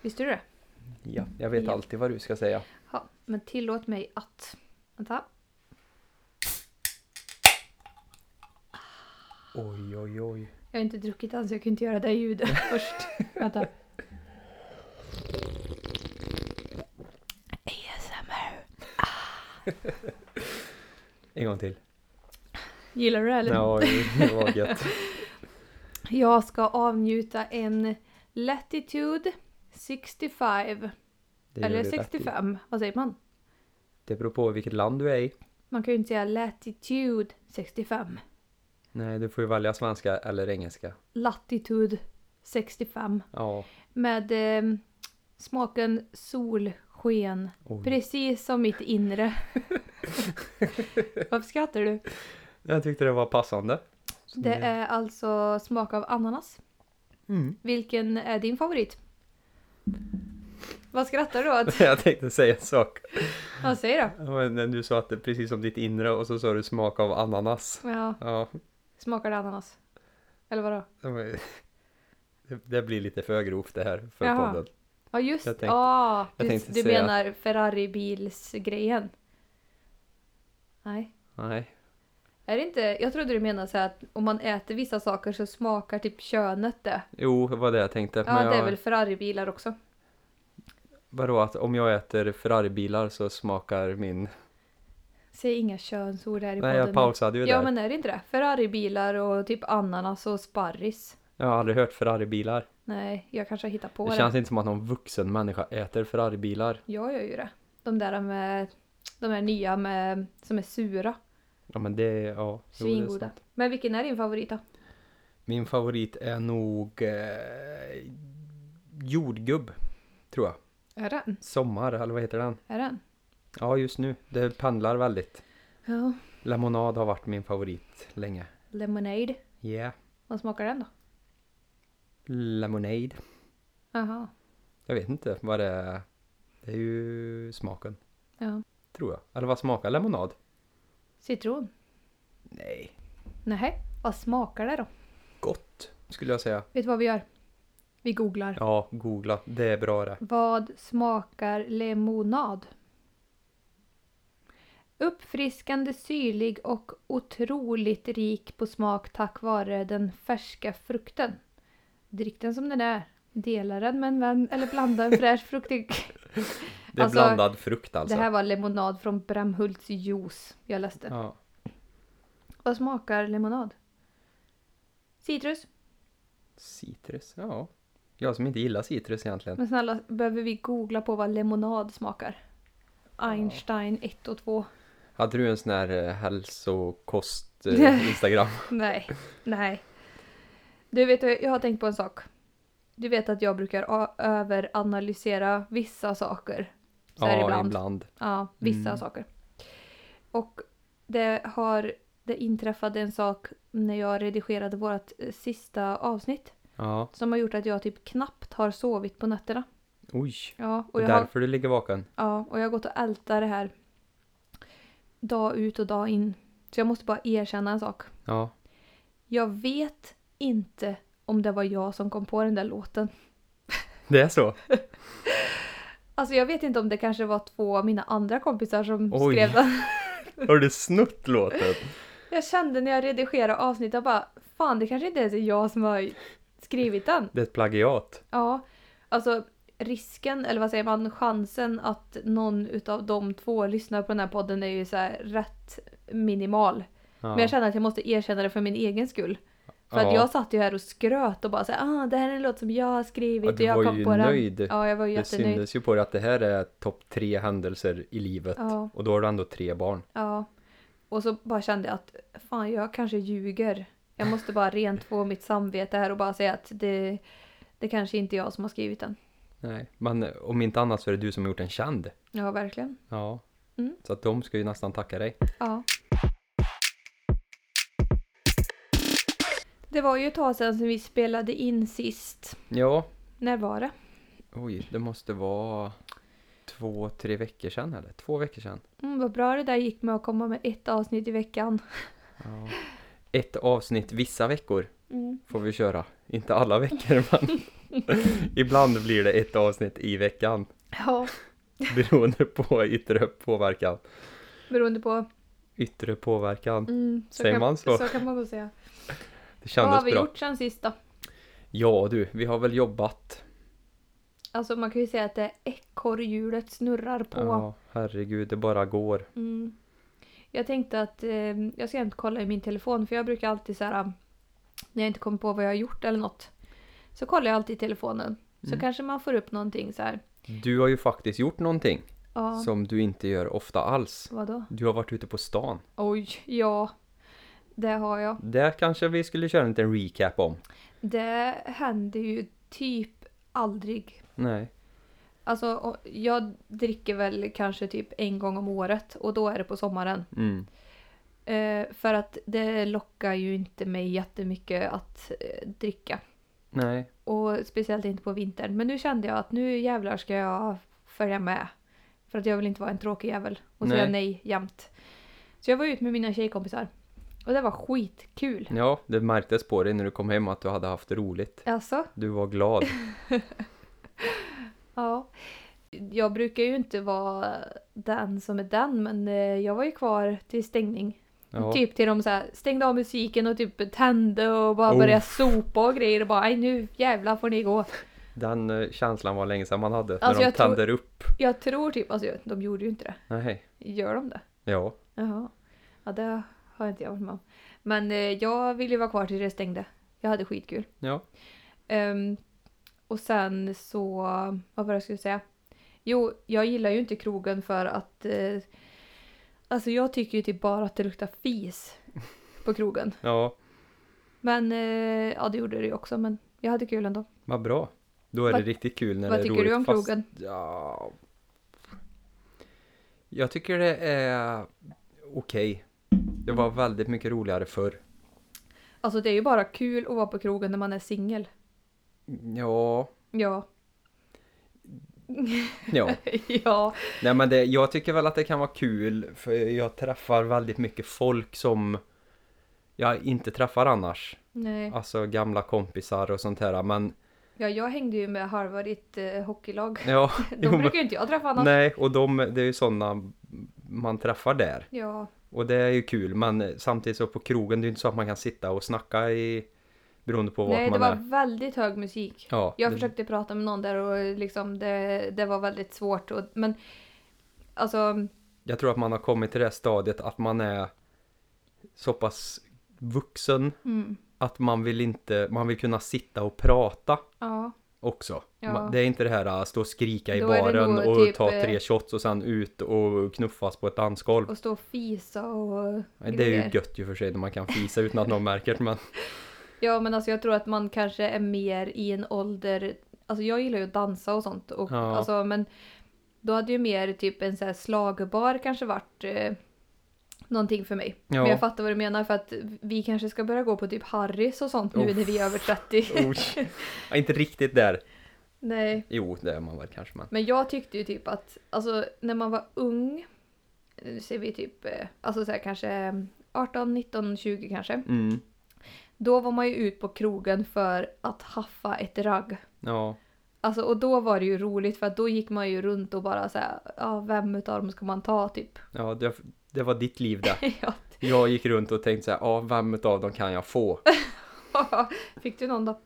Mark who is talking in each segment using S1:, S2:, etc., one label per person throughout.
S1: Visste du det?
S2: Ja, jag vet
S1: Ja.
S2: alltid vad du ska säga.
S1: Ja, men tillåt mig att... Vänta.
S2: Oj, oj, oj.
S1: Jag har inte druckit än så jag kunde inte göra det ljudet först. Vänta. ASMR.
S2: En gång till.
S1: Gillar du det eller?
S2: Ja, oj, det var gött.
S1: Jag ska avnjuta en Latitude 65.
S2: Det gör
S1: eller
S2: du rätt i.
S1: 65, vad säger man?
S2: Det beror på vilket land du är i.
S1: Man kan ju inte säga Latitude 65.
S2: Nej, du får ju välja svenska eller engelska.
S1: Latitude 65.
S2: Ja.
S1: Med eh, smaken solsken.
S2: Oj.
S1: Precis som mitt inre. Varför skrattar du?
S2: Jag tyckte det var passande. Så
S1: Det är alltså smak av ananas.
S2: Mm.
S1: Vilken är din favorit? Vad skrattar du åt?
S2: Jag tänkte säga en sak.
S1: Vad säger du?
S2: Ja, men Du sa att det är precis som ditt inre och så sa du smak av ananas.
S1: Ja,
S2: Ja,
S1: smakar det ananas? Eller vadå?
S2: det var- det- det blir lite för grovt det här för
S1: Jaha.
S2: podden.
S1: Ja just
S2: Jag
S1: det,
S2: tänkte-
S1: ah,
S2: jag
S1: du,
S2: tänkte
S1: du
S2: säga-
S1: menar Ferrari-bilsgrejen? Nej.
S2: Nej.
S1: Är det inte, jag trodde du menade så här att om man äter vissa saker så smakar typ könet det.
S2: Jo, det var det jag tänkte.
S1: Ja,
S2: men jag,
S1: det är väl Ferrari-bilar också.
S2: Vadå, att om jag äter Ferraribilar så smakar min...
S1: Säg inga könsord här i
S2: Nej,
S1: podden.
S2: jag pausade ju
S1: Ja
S2: där.
S1: men är det inte det? Ferraribilar och typ ananas och sparris.
S2: Jag har aldrig hört Ferraribilar.
S1: Nej, jag kanske har hittat på
S2: Det
S1: det.
S2: känns inte som att någon vuxen människa äter Ferraribilar.
S1: Jag gör ju det. De där med... De där nya med, som är sura.
S2: Ja, men det... Ja. jo, det är
S1: Svingoda.
S2: sant.
S1: men vilken är din favorit då?
S2: Min favorit är nog... Eh, jordgubb, tror jag.
S1: Är den?
S2: Sommar, eller vad heter den?
S1: Är den?
S2: Ja, just nu. Det pendlar väldigt.
S1: Ja.
S2: Lemonad har varit min favorit länge.
S1: Lemonade.
S2: Yeah.
S1: Vad smakar den då?
S2: Lemonade.
S1: Jaha.
S2: Jag vet inte vad det är. Det är ju smaken,
S1: Ja.
S2: tror jag. Eller vad smakar lemonad?
S1: Citron.
S2: Nej.
S1: Nej. Vad smakar det då?
S2: Gott, skulle jag säga.
S1: Vet du vad vi gör? Vi googlar.
S2: Ja, googla. Det är bra det.
S1: Vad smakar lemonad? Uppfriskande syrlig och otroligt rik på smak tack vare den färska frukten. Drick den som den är. Dela den med en vän eller blanda en fräsch fruktig.
S2: Det är
S1: Alltså,
S2: blandad frukt alltså.
S1: Det här var lemonad från Bramhults juice jag läste.
S2: Ja.
S1: Vad smakar lemonad? Citrus.
S2: Citrus, ja. Jag som inte gillar citrus egentligen.
S1: Men snälla, behöver vi googla på vad lemonad smakar? Einstein 1 och 2.
S2: Hade du en sån här eh, hälsokost eh, Instagram?
S1: Nej, nej. Du vet, jag har tänkt på en sak. Du vet att jag brukar a- överanalysera vissa saker. Så här
S2: ja,
S1: ibland.
S2: ibland.
S1: Ja, vissa
S2: Mm.
S1: saker. Och det har... Det inträffade en sak när jag redigerade vårt eh, sista avsnitt.
S2: Ja,
S1: Som har gjort att jag typ knappt har sovit på nätterna.
S2: oj.
S1: Ja, och
S2: Och
S1: jag, har,
S2: Därför du ligger vaken.
S1: ja, och jag har gått och ältat det här. Dag ut och dag in. Så jag måste bara erkänna en sak.
S2: Ja.
S1: Jag vet inte om det var jag som kom på den där låten.
S2: Det är så?
S1: Alltså jag vet inte om det kanske var två av mina andra kompisar som
S2: Oj.
S1: skrev den.
S2: Har du snott låten?
S1: Jag kände när jag redigerade avsnittet jag bara fan det kanske inte ens är jag som har skrivit den.
S2: Det är ett plagiat.
S1: Ja, alltså risken eller vad säger man chansen att någon utav de två lyssnar på den här podden är ju så här rätt minimal.
S2: Ja.
S1: Men jag känner att jag måste erkänna det för min egen skull. För att
S2: Ja.
S1: jag satt ju här och skröt och bara såhär, ah det här är en låt som jag har skrivit
S2: Ja,
S1: och
S2: du
S1: jag
S2: var
S1: kom
S2: ju
S1: på
S2: nöjd.
S1: den. Ja, jag var ju
S2: Det
S1: jättenöjd.
S2: syndes ju på dig att det här är topp tre händelser i livet.
S1: Ja.
S2: Och då har du ändå tre barn.
S1: Ja. Och så bara kände jag att fan jag kanske ljuger. Jag måste bara rent få mitt samvete här och bara säga att det, det kanske inte är jag som har skrivit den.
S2: Nej. Men eh, om inte annat så är det du som har gjort en känd.
S1: Ja, verkligen.
S2: Ja.
S1: Mm.
S2: Så att de ska ju nästan tacka dig.
S1: Ja. Det var ju ett tag sedan som vi spelade in sist.
S2: Ja.
S1: När var det?
S2: Oj, det måste vara två, tre veckor sedan eller? Två veckor sedan.
S1: Mm, vad bra det där gick med att komma med ett avsnitt i veckan.
S2: Ja. ett avsnitt vissa veckor
S1: Mm.
S2: får vi köra. Inte alla veckor men ibland blir det ett avsnitt i veckan
S1: Ja,
S2: beroende på yttre påverkan.
S1: beroende på.
S2: Yttre påverkan.
S1: Mm, så
S2: Säger
S1: kan,
S2: man så?
S1: Så kan man nog säga.
S2: Det
S1: Vad har
S2: kändes
S1: vi
S2: bra.
S1: gjort sen sist då?
S2: Ja du, vi har väl jobbat.
S1: Alltså man kan ju säga att det ekorrhjulet snurrar på.
S2: Ja, herregud, det bara går.
S1: Mm. Jag tänkte att eh, jag ska inte kolla i min telefon för jag brukar alltid så här när jag inte kommer på vad jag har gjort eller något så kollar jag alltid i telefonen. Så
S2: Mm.
S1: kanske man får upp någonting så här.
S2: Du har ju faktiskt gjort någonting
S1: Ja,
S2: som du inte gör ofta alls.
S1: vadå?
S2: Du har varit ute på stan.
S1: Oj, ja. Det har jag.
S2: Där kanske vi skulle köra en liten recap om.
S1: Det händer ju typ aldrig.
S2: Nej.
S1: Alltså och jag dricker väl kanske typ en gång om året och då är det på sommaren.
S2: Mm.
S1: Eh, för att det lockar ju inte mig jättemycket att eh, dricka.
S2: Nej.
S1: Och speciellt inte på vintern. Men nu kände jag att nu jävlar ska jag följa med. För att jag vill inte vara en tråkig jävel och säga
S2: Nej.
S1: nej jämt. Så jag var ute med mina tjejkompisar. Och det var skitkul.
S2: Ja, det märktes på dig när du kom hem att du hade haft roligt.
S1: Alltså,
S2: Du var glad.
S1: ja. Jag brukar ju inte vara den som är den men eh, jag var ju kvar till stängning.
S2: Ja.
S1: Typ till de så här, stängde av musiken och typ tände och bara
S2: Oh.
S1: började sopa och grejer och bara "Aj, nu jävlar får ni gå.
S2: Den eh, känslan var länge sedan man hade.
S1: Alltså,
S2: när de
S1: jag tror-
S2: tänder upp.
S1: Jag tror typ, alltså jag- de gjorde ju inte det.
S2: Nej.
S1: Gör de det?
S2: Ja.
S1: Jaha. Ja, det har inte jag varit med om. Men eh, jag ville ju vara kvar tills det stängde. Jag hade skitkul.
S2: Ja.
S1: Ehm, och sen så... Vad var det jag skulle säga? Jo, jag gillar ju inte krogen för att... Eh, alltså jag tycker ju typ bara att det luktar fis på krogen.
S2: Ja.
S1: Men eh, ja, det gjorde det ju också. Men jag hade kul ändå.
S2: Vad bra. Då är
S1: Vad-
S2: det riktigt kul när
S1: vad
S2: det är roligt.
S1: tycker du om
S2: fast-
S1: krogen?
S2: Ja. Jag tycker det är okej. Det var väldigt mycket roligare förr.
S1: Alltså det är ju bara kul att vara på krogen när man är singel.
S2: Ja.
S1: Ja.
S2: Ja.
S1: ja.
S2: Nej men det, jag tycker väl att det kan vara kul för jag träffar väldigt mycket folk som jag inte träffar annars.
S1: Nej.
S2: Alltså gamla kompisar och sånt här men
S1: Ja, jag hängde ju med halva ditt eh, hockeylag.
S2: ja.
S1: De
S2: jo, men-
S1: brukar ju inte jag träffa annars.
S2: nej och de, det är ju sådana man träffar där.
S1: Ja,
S2: Och det är ju kul men samtidigt så på krogen det är ju inte så att man kan sitta och snacka i beroende på vart
S1: nej det
S2: man
S1: var
S2: är.
S1: väldigt hög musik.
S2: Ja,
S1: Jag
S2: det-
S1: försökte prata med någon där och liksom det, det var väldigt svårt. Och, men alltså,
S2: Jag tror att man har kommit till det här stadiet att man är så pass vuxen
S1: mm,
S2: att man vill inte, man vill kunna sitta och prata
S1: ja.
S2: också.
S1: Ja.
S2: Man- Det är inte det här att stå och skrika i
S1: Då är det
S2: baren
S1: nog
S2: och
S1: typ,
S2: ta
S1: eh,
S2: tre shots och sen ut och knuffas på ett dansgolv.
S1: Och stå och fisa och
S2: Nej, Det är
S1: grejer.
S2: ju gött ju för sig när man kan fisa utan att någon märker det, men
S1: Ja, men alltså jag tror att man kanske är mer i en ålder... Alltså jag gillar ju att dansa och sånt. Och,
S2: Ja.
S1: alltså, men då hade ju mer typ en så här slagbar kanske varit eh, någonting för mig.
S2: Ja.
S1: Men jag fattar vad du menar för att vi kanske ska börja gå på typ Harris och sånt nu
S2: Uff. Oh.
S1: när vi är över 30.
S2: oj. Ja, inte riktigt där.
S1: Nej.
S2: Jo, det är man väl kanske men.
S1: Men jag tyckte ju typ att, alltså när man var ung, nu ser vi typ, eh, alltså så här kanske eh, 18, 19, 20 kanske.
S2: Mm.
S1: Då var man ju ut på krogen för att haffa ett ragg.
S2: Ja,
S1: Alltså och då var det ju roligt för att då gick man ju runt och bara såhär, ja vem utav dem ska man ta typ?
S2: ja det, det var ditt liv där.
S1: Ja.
S2: Jag gick runt och tänkte så här, ja, vem av dem kan jag få?
S1: Fick du någon då?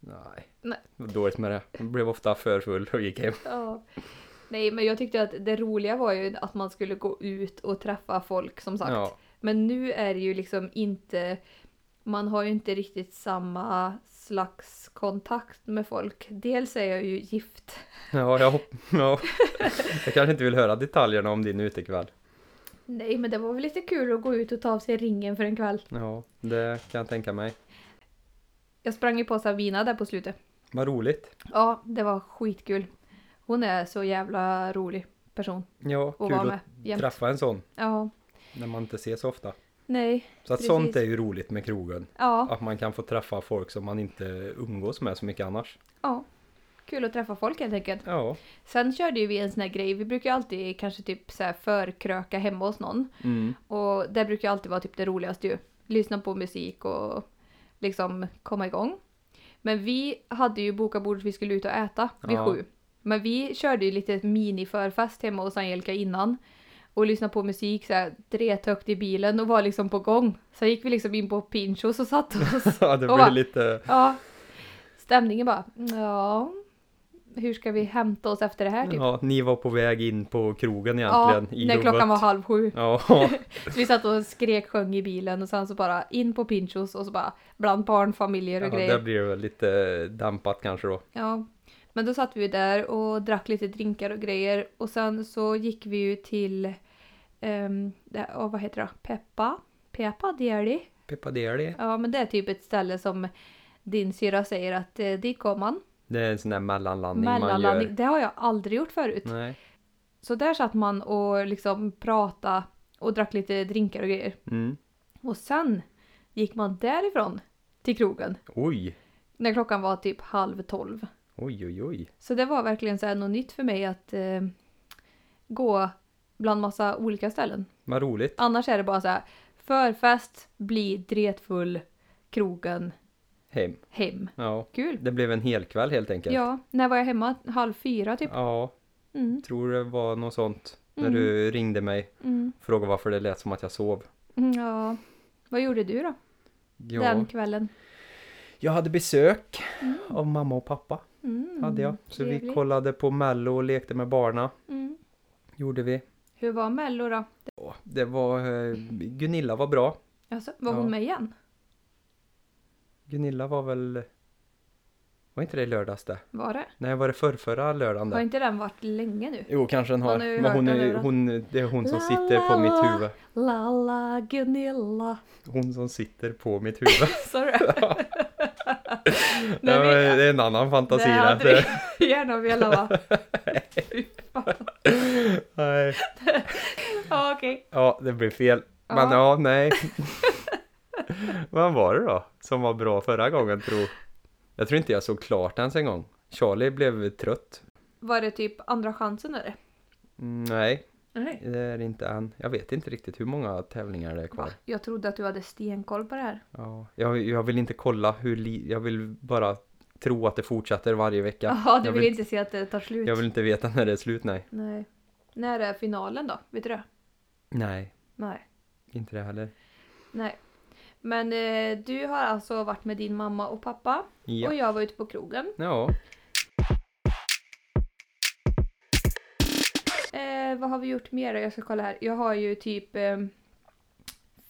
S2: Nej.
S1: Nej.
S2: Det var dåligt med det. Jag blev ofta för full och gick hem.
S1: Ja. Nej men jag tyckte att det roliga var ju att man skulle gå ut och träffa folk som sagt.
S2: Ja.
S1: Men nu är det ju liksom inte, man har ju inte riktigt samma slags kontakt med folk. Dels är jag ju gift.
S2: Ja, jag hopp... Ja. Jag kanske inte vill höra detaljerna om din utekväll.
S1: Nej men det var väl lite kul att gå ut och ta av sig ringen för en kväll.
S2: Ja, det kan jag tänka mig.
S1: Jag sprang ju på Sabina där på slutet.
S2: Vad roligt.
S1: Ja, det var skitkul. Hon är så jävla rolig person
S2: Ja,
S1: att
S2: kul
S1: vara med.
S2: att
S1: Jämt.
S2: träffa en sån
S1: Ja,
S2: när man inte ses så ofta.
S1: nej,
S2: Så att
S1: Precis.
S2: sånt är ju roligt med krogen.
S1: ja,
S2: Att man kan få träffa folk som man inte umgås med så mycket annars.
S1: ja. Kul att träffa folk helt enkelt.
S2: Ja.
S1: Sen körde ju vi en sån här grej, vi brukar ju alltid kanske typ så här förkröka hemma hos någon.
S2: Mm.
S1: Och det brukar ju alltid vara typ det roligaste ju. lyssna på musik och liksom komma igång. Men vi hade ju bokat bordet vi skulle ut och äta vid
S2: Ja.
S1: sju. Men vi körde ju lite miniförfest hemma hos Angelica innan. Och lyssnade på musik såhär drethögt i bilen och var liksom på gång. Sen gick vi liksom in på Pinchos och satte oss.
S2: Ja, det
S1: Och
S2: blir
S1: va?
S2: lite...
S1: ja. Stämningen bara, ja. Hur ska vi hämta oss efter det här typ?
S2: Ja, ni var på väg in på krogen egentligen. i
S1: när klockan var
S2: jobbet.
S1: halv sju.
S2: Ja,
S1: Så vi satt och skrek, sjöng i bilen och sen så bara in på Pinchos och så bara bland barnfamiljer och
S2: ja
S1: grejer.
S2: där blir det väl lite dampat kanske då.
S1: Ja. Men då satt vi ju där och drack lite drinkar och grejer och sen så gick vi ju till, um, det, åh, vad heter det, Peppa? Peppa Deli?
S2: Peppadeli.
S1: Ja men det är typ ett ställe som din syra säger att eh, dit går man.
S2: Det är en sån där mellanlandning man
S1: Mellanlandning.
S2: gör.
S1: Det har jag aldrig gjort förut.
S2: Nej.
S1: Så där satt man och liksom pratade och drack lite drinkar och grejer.
S2: Mm.
S1: Och sen gick man därifrån till krogen
S2: Oj,
S1: när klockan var typ halv tolv.
S2: oj, oj, oj.
S1: Så det var verkligen så här något nytt för mig att eh, gå bland massa olika ställen.
S2: Vad roligt.
S1: Annars är det bara så här förfest, bli dretfull, krogen,
S2: Hem.
S1: hem.
S2: Ja,
S1: Kul!
S2: det blev en hel kväll helt enkelt.
S1: Ja, när var jag hemma? Halv fyra typ.
S2: Ja,
S1: Mm,
S2: tror det var något sånt. När
S1: Mm.
S2: du ringde mig
S1: mm,
S2: och frågade varför det lät som att jag sov.
S1: mm, ja. Vad gjorde du då?
S2: Ja.
S1: Den kvällen?
S2: Jag hade besök av mamma och pappa.
S1: Mm,
S2: hade jag. Så vi
S1: trevligt.
S2: kollade på Mello och lekte med barna.
S1: Mm.
S2: Gjorde vi.
S1: Hur var Mello då?
S2: Åh, Det var... eh, Gunilla var bra.
S1: Alltså, var
S2: Ja.
S1: hon med igen?
S2: Gunilla var väl... Var inte det i lördags det?
S1: Var det?
S2: Nej, var det förrförra lördagen
S1: Har
S2: det?
S1: inte den varit länge nu?
S2: Jo, kanske den har.
S1: Man har ju
S2: Men
S1: hört
S2: hon,
S1: den
S2: är,
S1: överallt.
S2: hon, det är hon som
S1: La,
S2: sitter på
S1: la,
S2: mitt
S1: la.
S2: huvud.
S1: Lalla Gunilla.
S2: Hon som sitter på mitt huvud.
S1: Sa du det?
S2: Nej,
S1: Nej,
S2: men
S1: men-
S2: det är en annan fantasi.
S1: Det hade
S2: där.
S1: du gärna velat va? Fy fan.
S2: Nej.
S1: Ja okej.
S2: Ja, det blev fel.
S1: Ja.
S2: Men ja, nej. Vad var det då som var bra förra gången tro? Jag tror inte jag såg klart ens en gång. Charlie blev trött.
S1: Var det typ andra chansen eller?
S2: Mm, Nej,
S1: Nej.
S2: det är det inte än. Jag vet inte riktigt hur många tävlingar det är kvar.
S1: Va? Jag trodde att du hade stenkoll på det här.
S2: Ja, jag, jag vill inte kolla hur li- Jag vill bara tro att det fortsätter varje vecka.
S1: Jaha, du
S2: jag,
S1: vill,
S2: vill,
S1: inte se att det tar slut?
S2: jag vill inte veta när det är slut, nej.
S1: Nej. När är finalen då? Vet du det?
S2: Nej,
S1: Nej.
S2: inte det heller.
S1: Nej. Men eh, du har alltså varit med din mamma och pappa och
S2: Ja.
S1: jag var ute på krogen.
S2: ja.
S1: Eh, vad har vi gjort mer då? Jag ska kolla här. Jag har ju typ eh,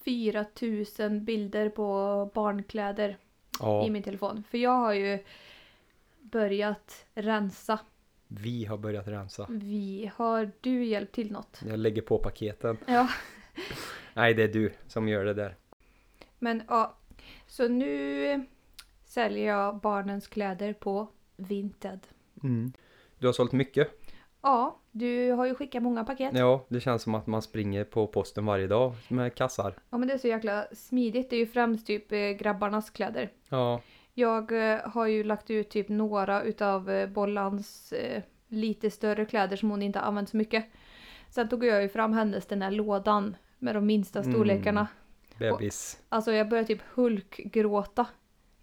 S1: 4000 bilder på barnkläder. i
S2: Ja,
S1: min telefon. För jag har ju börjat rensa.
S2: vi har börjat rensa.
S1: Vi, har du hjälpt till något?
S2: Jag lägger på paketen.
S1: Ja.
S2: Nej, det är du som gör det där.
S1: Men ja, så nu säljer jag barnens kläder på Vinted.
S2: Mm. Du har sålt mycket.
S1: Ja, du har ju skickat många paket. Ja.
S2: Ja, det känns som att man springer på posten varje dag med kassar.
S1: men det är så jäkla smidigt. Det är ju främst typ eh, grabbarnas kläder.
S2: Ja,
S1: Jag eh, har ju lagt ut typ några utav eh, Bollans eh, lite större kläder som hon inte har använt så mycket. Sen tog jag ju fram hennes den här lådan med de minsta
S2: Mm.
S1: storlekarna.
S2: bebis.
S1: Alltså jag börjar typ hulkgråta.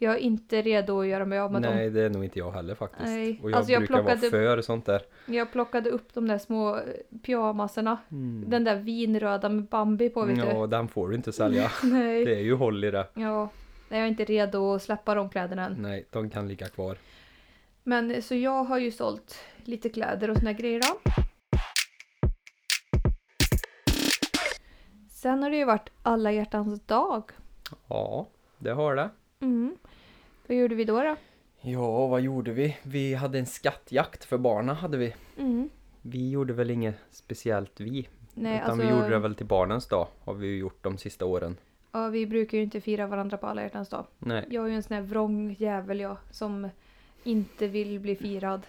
S1: Jag är inte redo att göra mig av med dem.
S2: Nej, det är nog inte jag heller faktiskt.
S1: Nej.
S2: Och jag
S1: Alltså, jag
S2: brukar vara
S1: plockade-
S2: för sånt där.
S1: Jag plockade upp de där små eh, pyjamaserna.
S2: Mm.
S1: Den där vinröda med Bambi på vet
S2: Ja, den får du inte sälja.
S1: du. Nej.
S2: Det är ju håll i det.
S1: Ja. Nej, jag är inte redo att släppa de kläderna än.
S2: Nej, de kan ligga kvar.
S1: Men eh, så jag har ju sålt lite kläder och såna grejer då. Sen har det ju varit alla hjärtans dag.
S2: Ja, det har det.
S1: Mm. Vad gjorde vi då då?
S2: Ja, vad gjorde vi? Vi hade en skattjakt för barnen hade vi.
S1: Mm.
S2: Vi gjorde väl inget speciellt vi.
S1: Nej,
S2: utan
S1: alltså,
S2: vi gjorde det väl till barnens dag. Har vi ju gjort de sista åren.
S1: Ja, vi brukar ju inte fira varandra på alla hjärtans dag.
S2: Nej.
S1: Jag är ju en sån här vrång jävel jag som inte vill bli firad.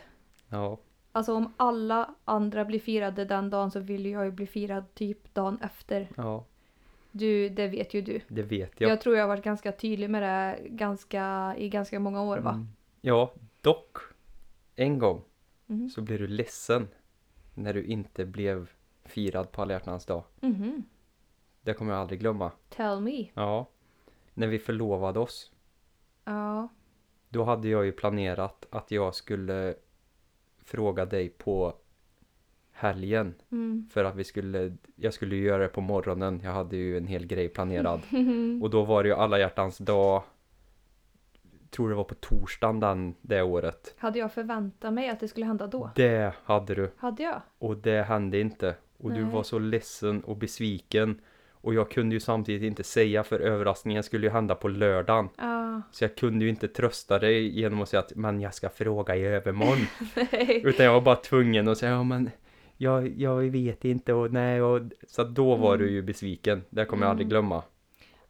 S2: Ja.
S1: Alltså om alla andra blir firade den dagen så vill jag ju bli firad typ dagen efter.
S2: Ja.
S1: Du, det vet ju du.
S2: Det vet jag.
S1: Jag tror jag har varit ganska tydlig med det här ganska, i ganska många år va?
S2: Mm. Ja, dock. En gång
S1: Mhm.
S2: så blev du ledsen när du inte blev firad på alla hjärtans dag.
S1: Mhm.
S2: Det kommer jag aldrig glömma.
S1: Tell me.
S2: Ja. när vi förlovade oss,
S1: Ja.
S2: då hade jag ju planerat att jag skulle fråga dig på helgen.
S1: Mm.
S2: För att vi skulle, jag skulle ju göra det på morgonen. Jag hade ju en hel grej planerad. Och då var det ju alla hjärtans dag. Tror det var på torsdagen den, det året.
S1: Hade jag förväntat mig att det skulle hända då?
S2: Det hade du.
S1: Hade jag?
S2: Och det hände inte. Och du
S1: Nej.
S2: var så ledsen och besviken. Och jag kunde ju samtidigt inte säga för överraskningen skulle ju hända på lördagen.
S1: Ja.
S2: Så jag kunde ju inte trösta dig genom att säga att men jag ska fråga i övermorgon.
S1: Nej.
S2: Utan jag var bara tvungen att säga ja men jag, jag vet inte och nej och så att då var
S1: Mm.
S2: du ju besviken. Det kommer jag aldrig glömma.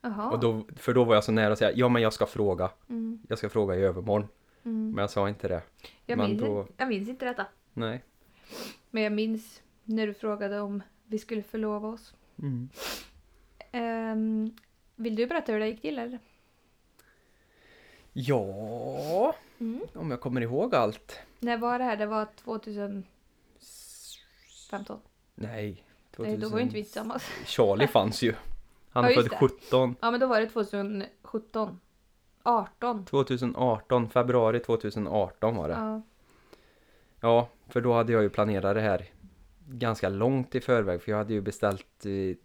S1: Jaha.
S2: Och då, för då var jag så nära att säga ja men jag ska fråga.
S1: Mm.
S2: Jag ska fråga i övermorgon.
S1: Mm.
S2: Men jag sa inte det.
S1: Jag,
S2: men
S1: minns
S2: då-
S1: inte, jag minns inte detta.
S2: Nej.
S1: Men jag minns när du frågade om vi skulle förlova oss.
S2: Mm.
S1: Ehm, vill du berätta hur det gick till eller?
S2: Ja,
S1: Mm.
S2: om jag kommer ihåg allt.
S1: När var det här? Det var 2015?
S2: Nej.
S1: Nej, då var ju inte vi
S2: 2000.
S1: tillsammans.
S2: Charlie fanns ju. Han
S1: Ja,
S2: är
S1: just
S2: född
S1: det.
S2: 17.
S1: Ja, men då var det 2017. 18.
S2: 2018, februari 2018 var det.
S1: Ja.
S2: Ja, för då hade jag ju planerat det här ganska långt i förväg för jag hade ju beställt eh,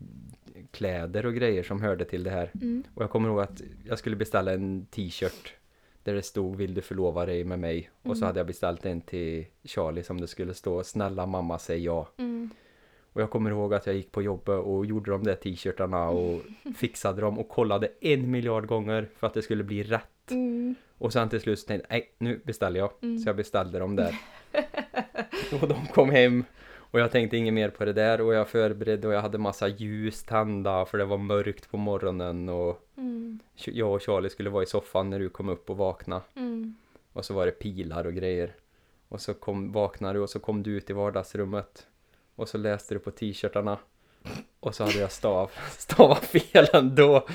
S2: kläder och grejer som hörde till det här.
S1: Mm.
S2: Och jag kommer ihåg att jag skulle beställa en t-shirt där det stod Vill du förlova dig med mig? Och
S1: Mm.
S2: så hade jag beställt en till Charlie som det skulle stå Snälla mamma säg ja.
S1: Mm.
S2: Och jag kommer ihåg att jag gick på jobbet och gjorde de där t-shirtarna och fixade dem och kollade en miljard gånger för att det skulle bli rätt.
S1: Mm.
S2: Och sen till slut så tänkte jag, nej nu beställer jag.
S1: Mm.
S2: Så jag beställde dem där. och de kom hem. Och jag tänkte inget mer på det där och jag förberedde och jag hade massa ljus tända för det var mörkt på morgonen och
S1: Mm.
S2: Ch- jag och Charlie skulle vara i soffan när du kom upp och vakna.
S1: Mm.
S2: Och så var det pilar och grejer. Och så kom, vaknade du och så kom du ut i vardagsrummet. Och så läste du på t-shirtarna. Och så hade jag stav, stavat fel ändå.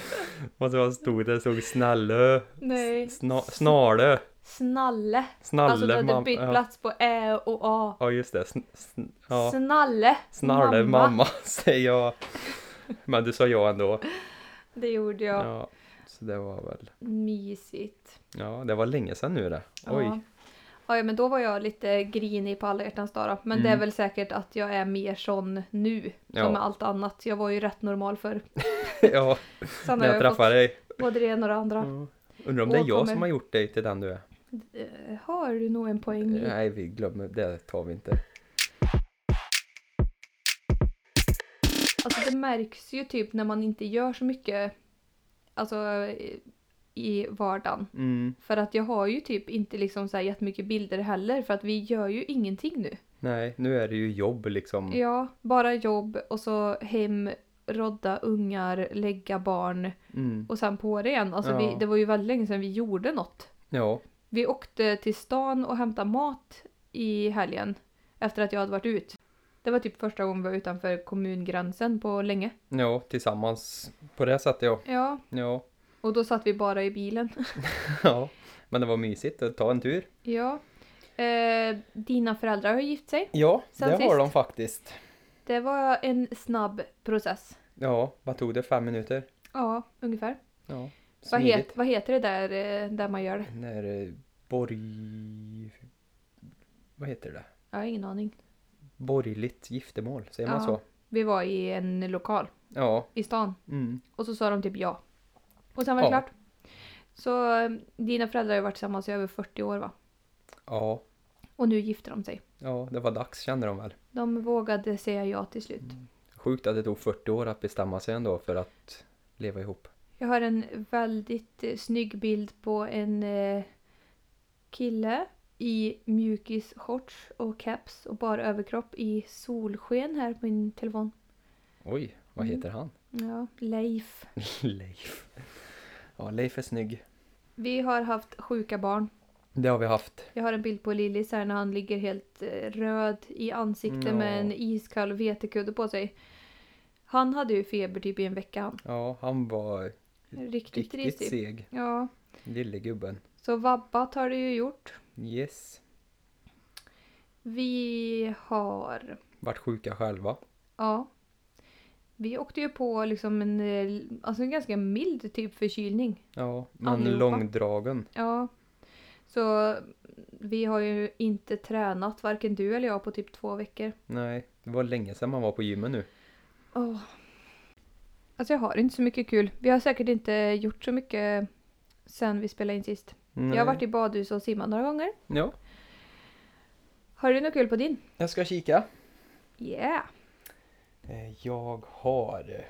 S2: Och så stod det, stod snälle,
S1: Nej.
S2: sna, snarle.
S1: Snalle.
S2: Snalle
S1: alltså du hade
S2: mam-
S1: bytt
S2: ja.
S1: plats på Ä och A.
S2: Ja just det. Sn sn ja.
S1: Snalle.
S2: Snarle mamma. säger jag. Men du sa ja ändå.
S1: Det gjorde jag.
S2: Ja. Så det var väl.
S1: Mysigt.
S2: Ja det var länge sedan nu det.
S1: Ja.
S2: Oj.
S1: Ja, ja, men då var jag lite grinig på alla hjärtans dag då. Men det är
S2: Mm.
S1: väl säkert att jag är mer sån nu.
S2: Ja.
S1: Som med allt annat. Jag var ju rätt normal förr.
S2: Ja.
S1: Sen
S2: När
S1: har
S2: jag Mm.
S1: jag
S2: träffade
S1: fått
S2: dig.
S1: både det ena och det andra.
S2: Ja. Undrar om det är
S1: Och
S2: jag
S1: kommer-
S2: som har gjort dig till den du är.
S1: Eh, Har du nog en poäng i?
S2: Nej vi glömmer, det tar vi inte.
S1: Alltså det märks ju typ när man inte gör så mycket alltså, i- i vardagen.
S2: Mm.
S1: För att jag har ju typ inte liksom så här jättemycket bilder heller för att vi gör ju ingenting nu.
S2: Nej nu är det ju jobb liksom.
S1: Ja, bara jobb och så hem, rodda ungar, lägga barn
S2: Mm.
S1: och sen på det igen. Alltså
S2: Ja.
S1: vi, det var ju väldigt länge sedan vi gjorde något.
S2: Ja.
S1: Vi åkte till stan och hämtade mat i helgen efter att jag hade varit ut. Det var typ första gången vi var utanför kommungränsen på länge.
S2: Ja tillsammans. På det sättet ja.
S1: Ja,
S2: Ja.
S1: och då satt vi bara i bilen.
S2: ja. Men det var mysigt att ta en tur.
S1: Ja. Eh, dina föräldrar har gift sig.
S2: Ja
S1: Sen
S2: det
S1: sist.
S2: har de faktiskt.
S1: Det var en snabb process.
S2: Ja vad tog det? Fem minuter?
S1: Ja, ungefär.
S2: Ja.
S1: Vad,
S2: Smidigt.
S1: het, vad heter det där, eh, där man gör det?
S2: När eh, borg... Vad heter det?
S1: Jag har ingen aning.
S2: Borgerligt giftermål, säger man
S1: Ja.
S2: så?
S1: Vi var i en lokal
S2: Ja.
S1: i stan
S2: Mm.
S1: och så sa de typ ja. Och sen var det
S2: Ja.
S1: klart. Så eh, dina föräldrar har ju varit tillsammans i över 40 år va?
S2: ja.
S1: Och nu gifter de sig.
S2: Ja, det var dags kände de väl.
S1: De vågade säga ja till slut.
S2: Sjukt att det tog 40 år att bestämma sig ändå för att leva ihop.
S1: Jag har en väldigt eh, snygg bild på en eh, kille i mjukisshorts och caps och bara överkropp i solsken här på min telefon.
S2: Oj, vad
S1: Mm.
S2: heter han?
S1: Ja, Leif.
S2: Leif. Ja, Leif är snygg.
S1: Vi har haft sjuka barn.
S2: Det har vi haft.
S1: Jag har en bild på Lillis här när han ligger helt eh, röd i ansiktet
S2: Ja.
S1: med en iskall vetekudde på sig. Han hade ju feber typ i en vecka han.
S2: Ja, han var
S1: Riktigt, typ.
S2: riktigt
S1: risig.
S2: seg.
S1: Ja.
S2: Lille gubben.
S1: Så vabbat har det ju gjort.
S2: Yes.
S1: Vi har
S2: Vart sjuka själva.
S1: Ja. Vi åkte ju på liksom en, eh, alltså en ganska mild typ förkylning.
S2: Ja, men
S1: Allihopa.
S2: långdragen.
S1: Ja. Så vi har ju inte tränat, varken du eller jag, på typ två veckor.
S2: Nej, det var länge sedan man var på gymmet nu.
S1: Åh. Alltså jag har inte så mycket kul. Vi har säkert inte gjort så mycket sen vi spelade in sist. Jag
S2: Nej.
S1: har varit i badhus och simmat några gånger.
S2: Ja,
S1: Har du något kul på din?
S2: jag ska kika.
S1: Yeah!
S2: Eh, Jag har eh,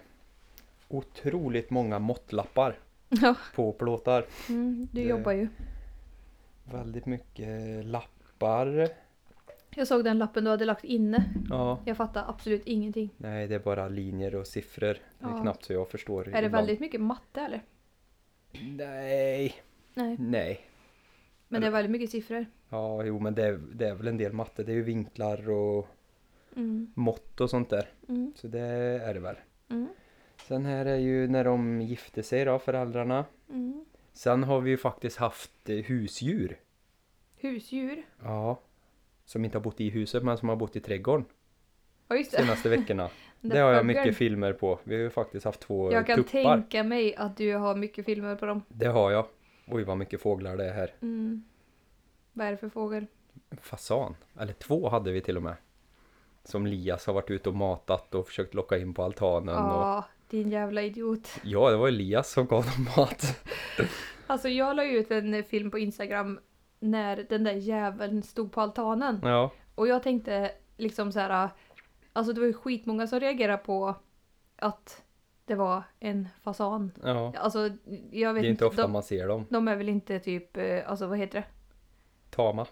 S2: otroligt många måttlappar
S1: Ja.
S2: på plåtar.
S1: Mm, du
S2: Det-
S1: jobbar ju.
S2: Väldigt mycket lappar.
S1: Jag såg den lappen du hade lagt inne.
S2: Ja.
S1: Jag fattar absolut ingenting.
S2: Nej, det är bara linjer och siffror. Det är
S1: Ja.
S2: knappt så jag förstår.
S1: Är det
S2: ibland.
S1: väldigt mycket matte eller?
S2: Nej,
S1: Nej.
S2: nej.
S1: Men det är väldigt mycket siffror.
S2: Ja, jo, men det är, det är väl en del matte. Det är ju vinklar och
S1: Mm,
S2: mått och sånt där.
S1: mm,
S2: Så det är det väl.
S1: mm,
S2: Sen här är ju när de gifte sig då, föräldrarna.
S1: mm.
S2: Sen har vi ju faktiskt haft eh, husdjur.
S1: Husdjur.
S2: Ja. Som inte har bott i huset men som har bott i trädgården
S1: Ja just det.
S2: senaste veckorna.
S1: Den
S2: det har jag
S1: fågeln.
S2: mycket filmer på. Vi har ju faktiskt haft två
S1: Jag kan
S2: tuppar.
S1: tänka mig att du har mycket filmer på dem.
S2: Det har jag. Oj vad mycket fåglar det är här.
S1: Mm. Vad är det för fågel?
S2: En Fasan. Eller två hade vi till och med. Som Lias har varit ute och matat och försökt locka in på altanen. Och...
S1: Ja, Ah, din jävla idiot.
S2: Ja, det var ju Lias som gav dem mat.
S1: Alltså jag la ju ut en film på Instagram när den där jäveln stod på altanen.
S2: Ja,
S1: Och jag tänkte liksom så här. Alltså det var ju skitmånga som reagerade på att det var en fasan.
S2: ja.
S1: Alltså jag
S2: Det
S1: vet
S2: är inte ofta
S1: de,
S2: man ser dem.
S1: de är väl inte typ, eh, alltså vad heter det?
S2: Tama.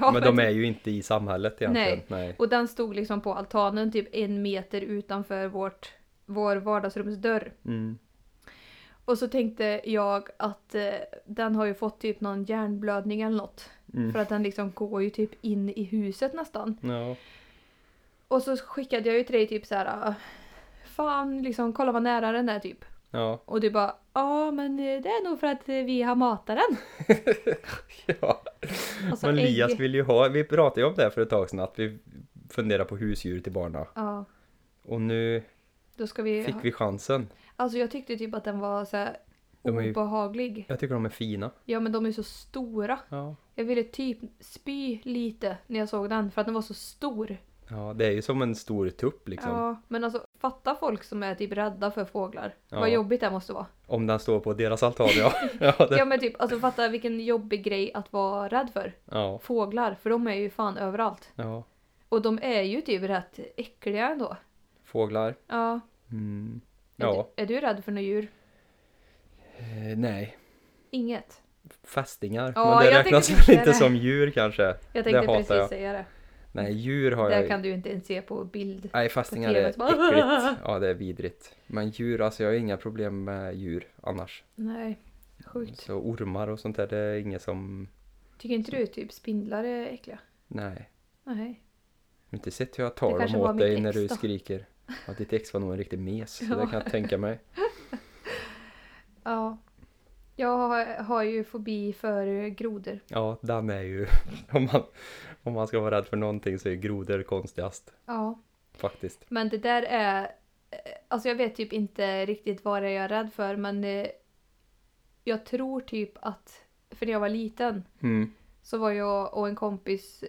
S1: Ja,
S2: Men de är ju inte i samhället egentligen.
S1: Nej.
S2: Nej.
S1: Och den stod liksom på altanen typ en meter utanför vårt, vår vardagsrumsdörr.
S2: Mm.
S1: Och så tänkte jag att eh, den har ju fått typ någon hjärnblödning eller något.
S2: Mm.
S1: För att den liksom går ju typ in i huset nästan.
S2: Ja.
S1: Och så skickade jag ju till dig typ så här. "Ah, Fan, liksom kolla vad nära den är typ.
S2: Ja.
S1: Och du bara ja men eh, det är nog för att eh, vi har matat den.
S2: ja.
S1: Alltså
S2: Men Lias
S1: ägg.
S2: vill ju ha, vi pratade ju om det här för ett tag sedan, att vi funderar på husdjur till barna.
S1: Ja,
S2: Och nu
S1: då ska vi...
S2: fick vi chansen.
S1: Alltså jag tyckte typ att den var så här
S2: De är ju-
S1: obehaglig.
S2: Jag tycker de är fina.
S1: Ja men de är så stora.
S2: Ja.
S1: Jag ville typ spy lite när jag såg den för att den var så stor.
S2: Ja, det är ju som en stor tupp liksom.
S1: Ja, men alltså fatta folk som är typ rädda för fåglar.
S2: Ja.
S1: Vad jobbigt det måste vara.
S2: Om den står på deras altan, ja. ja, det,
S1: Ja men typ, alltså fatta vilken jobbig grej att vara rädd för.
S2: ja.
S1: Fåglar, för de är ju fan överallt.
S2: ja.
S1: Och de är ju typ rätt äckliga ändå.
S2: Fåglar.
S1: Ja.
S2: Mm.
S1: Är,
S2: Ja.
S1: Du, är du rädd för några djur?
S2: Eh, nej.
S1: Inget.
S2: Fästingar.
S1: Ja,
S2: Men det
S1: jag tänkte
S2: räknas
S1: precis
S2: väl
S1: säga
S2: inte
S1: det.
S2: som djur kanske?
S1: Jag tänkte
S2: det hatar
S1: precis
S2: jag.
S1: säga det.
S2: Nej, djur har
S1: Det
S2: jag
S1: kan du inte ens se på bild.
S2: Nej, fästingar
S1: På
S2: är
S1: TV så bara-
S2: äckligt. Ja, det är vidrigt. Men djur, alltså jag har inga problem med djur annars.
S1: Nej. Sjukt.
S2: Så ormar och sånt där, det är inget som...
S1: Tycker inte du typ spindlar är äckliga?
S2: Nej.
S1: Nej.
S2: Jag har inte sett hur jag
S1: Det
S2: tar dem
S1: kanske var
S2: åt dig
S1: mitt
S2: när
S1: ex
S2: du
S1: då.
S2: skriker. Ja, ditt ex var nog en riktig mes, så det
S1: Ja.
S2: kan jag tänka mig.
S1: Ja. Jag har, har ju fobi för grodor.
S2: Ja, den är ju... Om man, om man ska vara rädd för någonting så är grodor konstigast,
S1: Ja.
S2: faktiskt.
S1: Men det där är... eh, Alltså jag vet typ inte riktigt vad det är jag är rädd för men eh, jag tror typ att... För när jag var liten
S2: Mm.
S1: så var jag och en kompis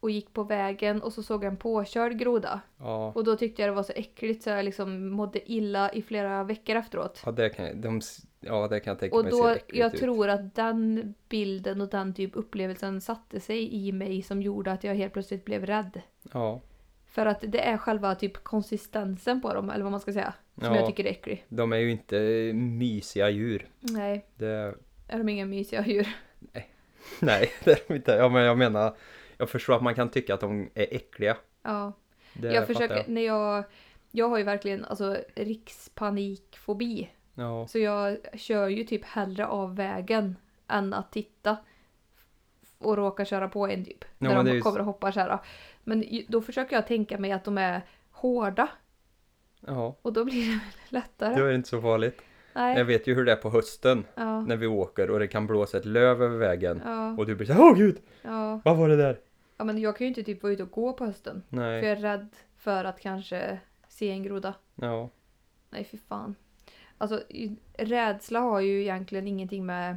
S1: och gick på vägen och så såg jag en påkörd groda.
S2: Ja.
S1: Och då tyckte jag det var så äckligt så jag liksom mådde illa i flera veckor efteråt.
S2: Ja, det kan jag, de, s- ja, det kan jag tänka
S1: Och
S2: mig
S1: då,
S2: äckligt
S1: jag
S2: ut.
S1: tror att den bilden och den typ upplevelsen satte sig i mig som gjorde att jag helt plötsligt blev rädd.
S2: Ja,
S1: För att det är själva typ konsistensen på dem, eller vad man ska säga, som
S2: Ja.
S1: jag tycker är äcklig.
S2: de är ju inte mysiga djur.
S1: Nej,
S2: Det,
S1: är de inga mysiga djur?
S2: Nej, det är de inte. Ja, men jag menar, jag förstår att man kan tycka att de är äckliga.
S1: Ja.
S2: Det
S1: jag
S2: fattar
S1: försöker, när jag... Jag har ju verkligen alltså rikspanikfobi.
S2: Ja,
S1: Så jag kör ju typ hellre av vägen än att titta. Och råkar köra på en typ.
S2: Ja,
S1: när
S2: men det är
S1: de
S2: ju-
S1: kommer och hoppar så här. Men ju- då försöker jag tänka mig att de är hårda.
S2: ja.
S1: Och då blir det väl lättare.
S2: Då är det inte så farligt. Jag
S1: Nej.
S2: vet ju hur det är på hösten
S1: Ja.
S2: när vi åker och det kan blåsa ett löv över vägen.
S1: Ja,
S2: Och du blir så här, åh gud,
S1: ja.
S2: vad var det där?
S1: ja, men jag kan ju inte typ vara ute och gå på hösten. För
S2: Nej,
S1: jag är rädd för att kanske se en groda.
S2: Ja.
S1: Nej, för fan. Alltså, i- rädsla har ju egentligen ingenting med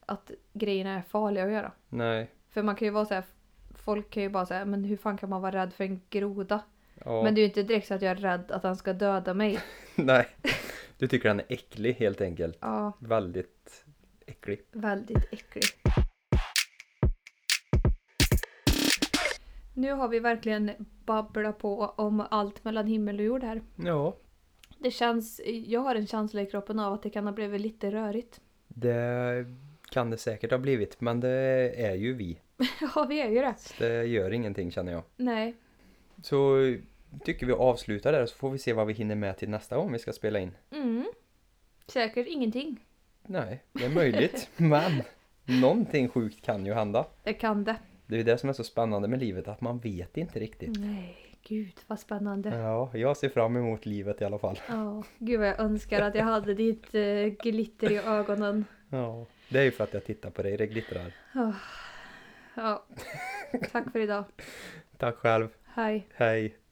S1: att grejerna är farliga att göra.
S2: Nej.
S1: För man kan ju vara så här, folk kan ju bara säga, men hur fan kan man vara rädd för en groda?
S2: Ja.
S1: Men det är ju inte direkt så att jag är rädd att han ska döda mig.
S2: Nej. Du tycker den är äcklig helt enkelt.
S1: Ja,
S2: Väldigt äcklig.
S1: väldigt äcklig. Nu har vi verkligen babblat på om allt mellan himmel och jord här.
S2: Ja.
S1: Det känns, jag har en känsla i kroppen av att det kan ha blivit lite rörigt.
S2: Det kan det säkert ha blivit, men det är ju vi.
S1: Ja, vi är ju det.
S2: Så det gör ingenting känner jag.
S1: Nej,
S2: Så tycker vi avslutar där så får vi se vad vi hinner med till nästa gång vi ska spela in.
S1: Mm. Säkert ingenting.
S2: Nej, det är möjligt, men någonting sjukt kan ju hända.
S1: Jag kan det.
S2: Det är ju det som är så spännande med livet, att man vet inte riktigt.
S1: Nej, gud vad spännande.
S2: Ja, jag ser fram emot livet i alla fall.
S1: Ja, gud vad jag önskar att jag hade ditt eh, glitter i ögonen.
S2: Ja, det är ju för att jag tittar på dig, det glittrar.
S1: Ja, tack för idag.
S2: Tack själv,
S1: Hej.
S2: hej!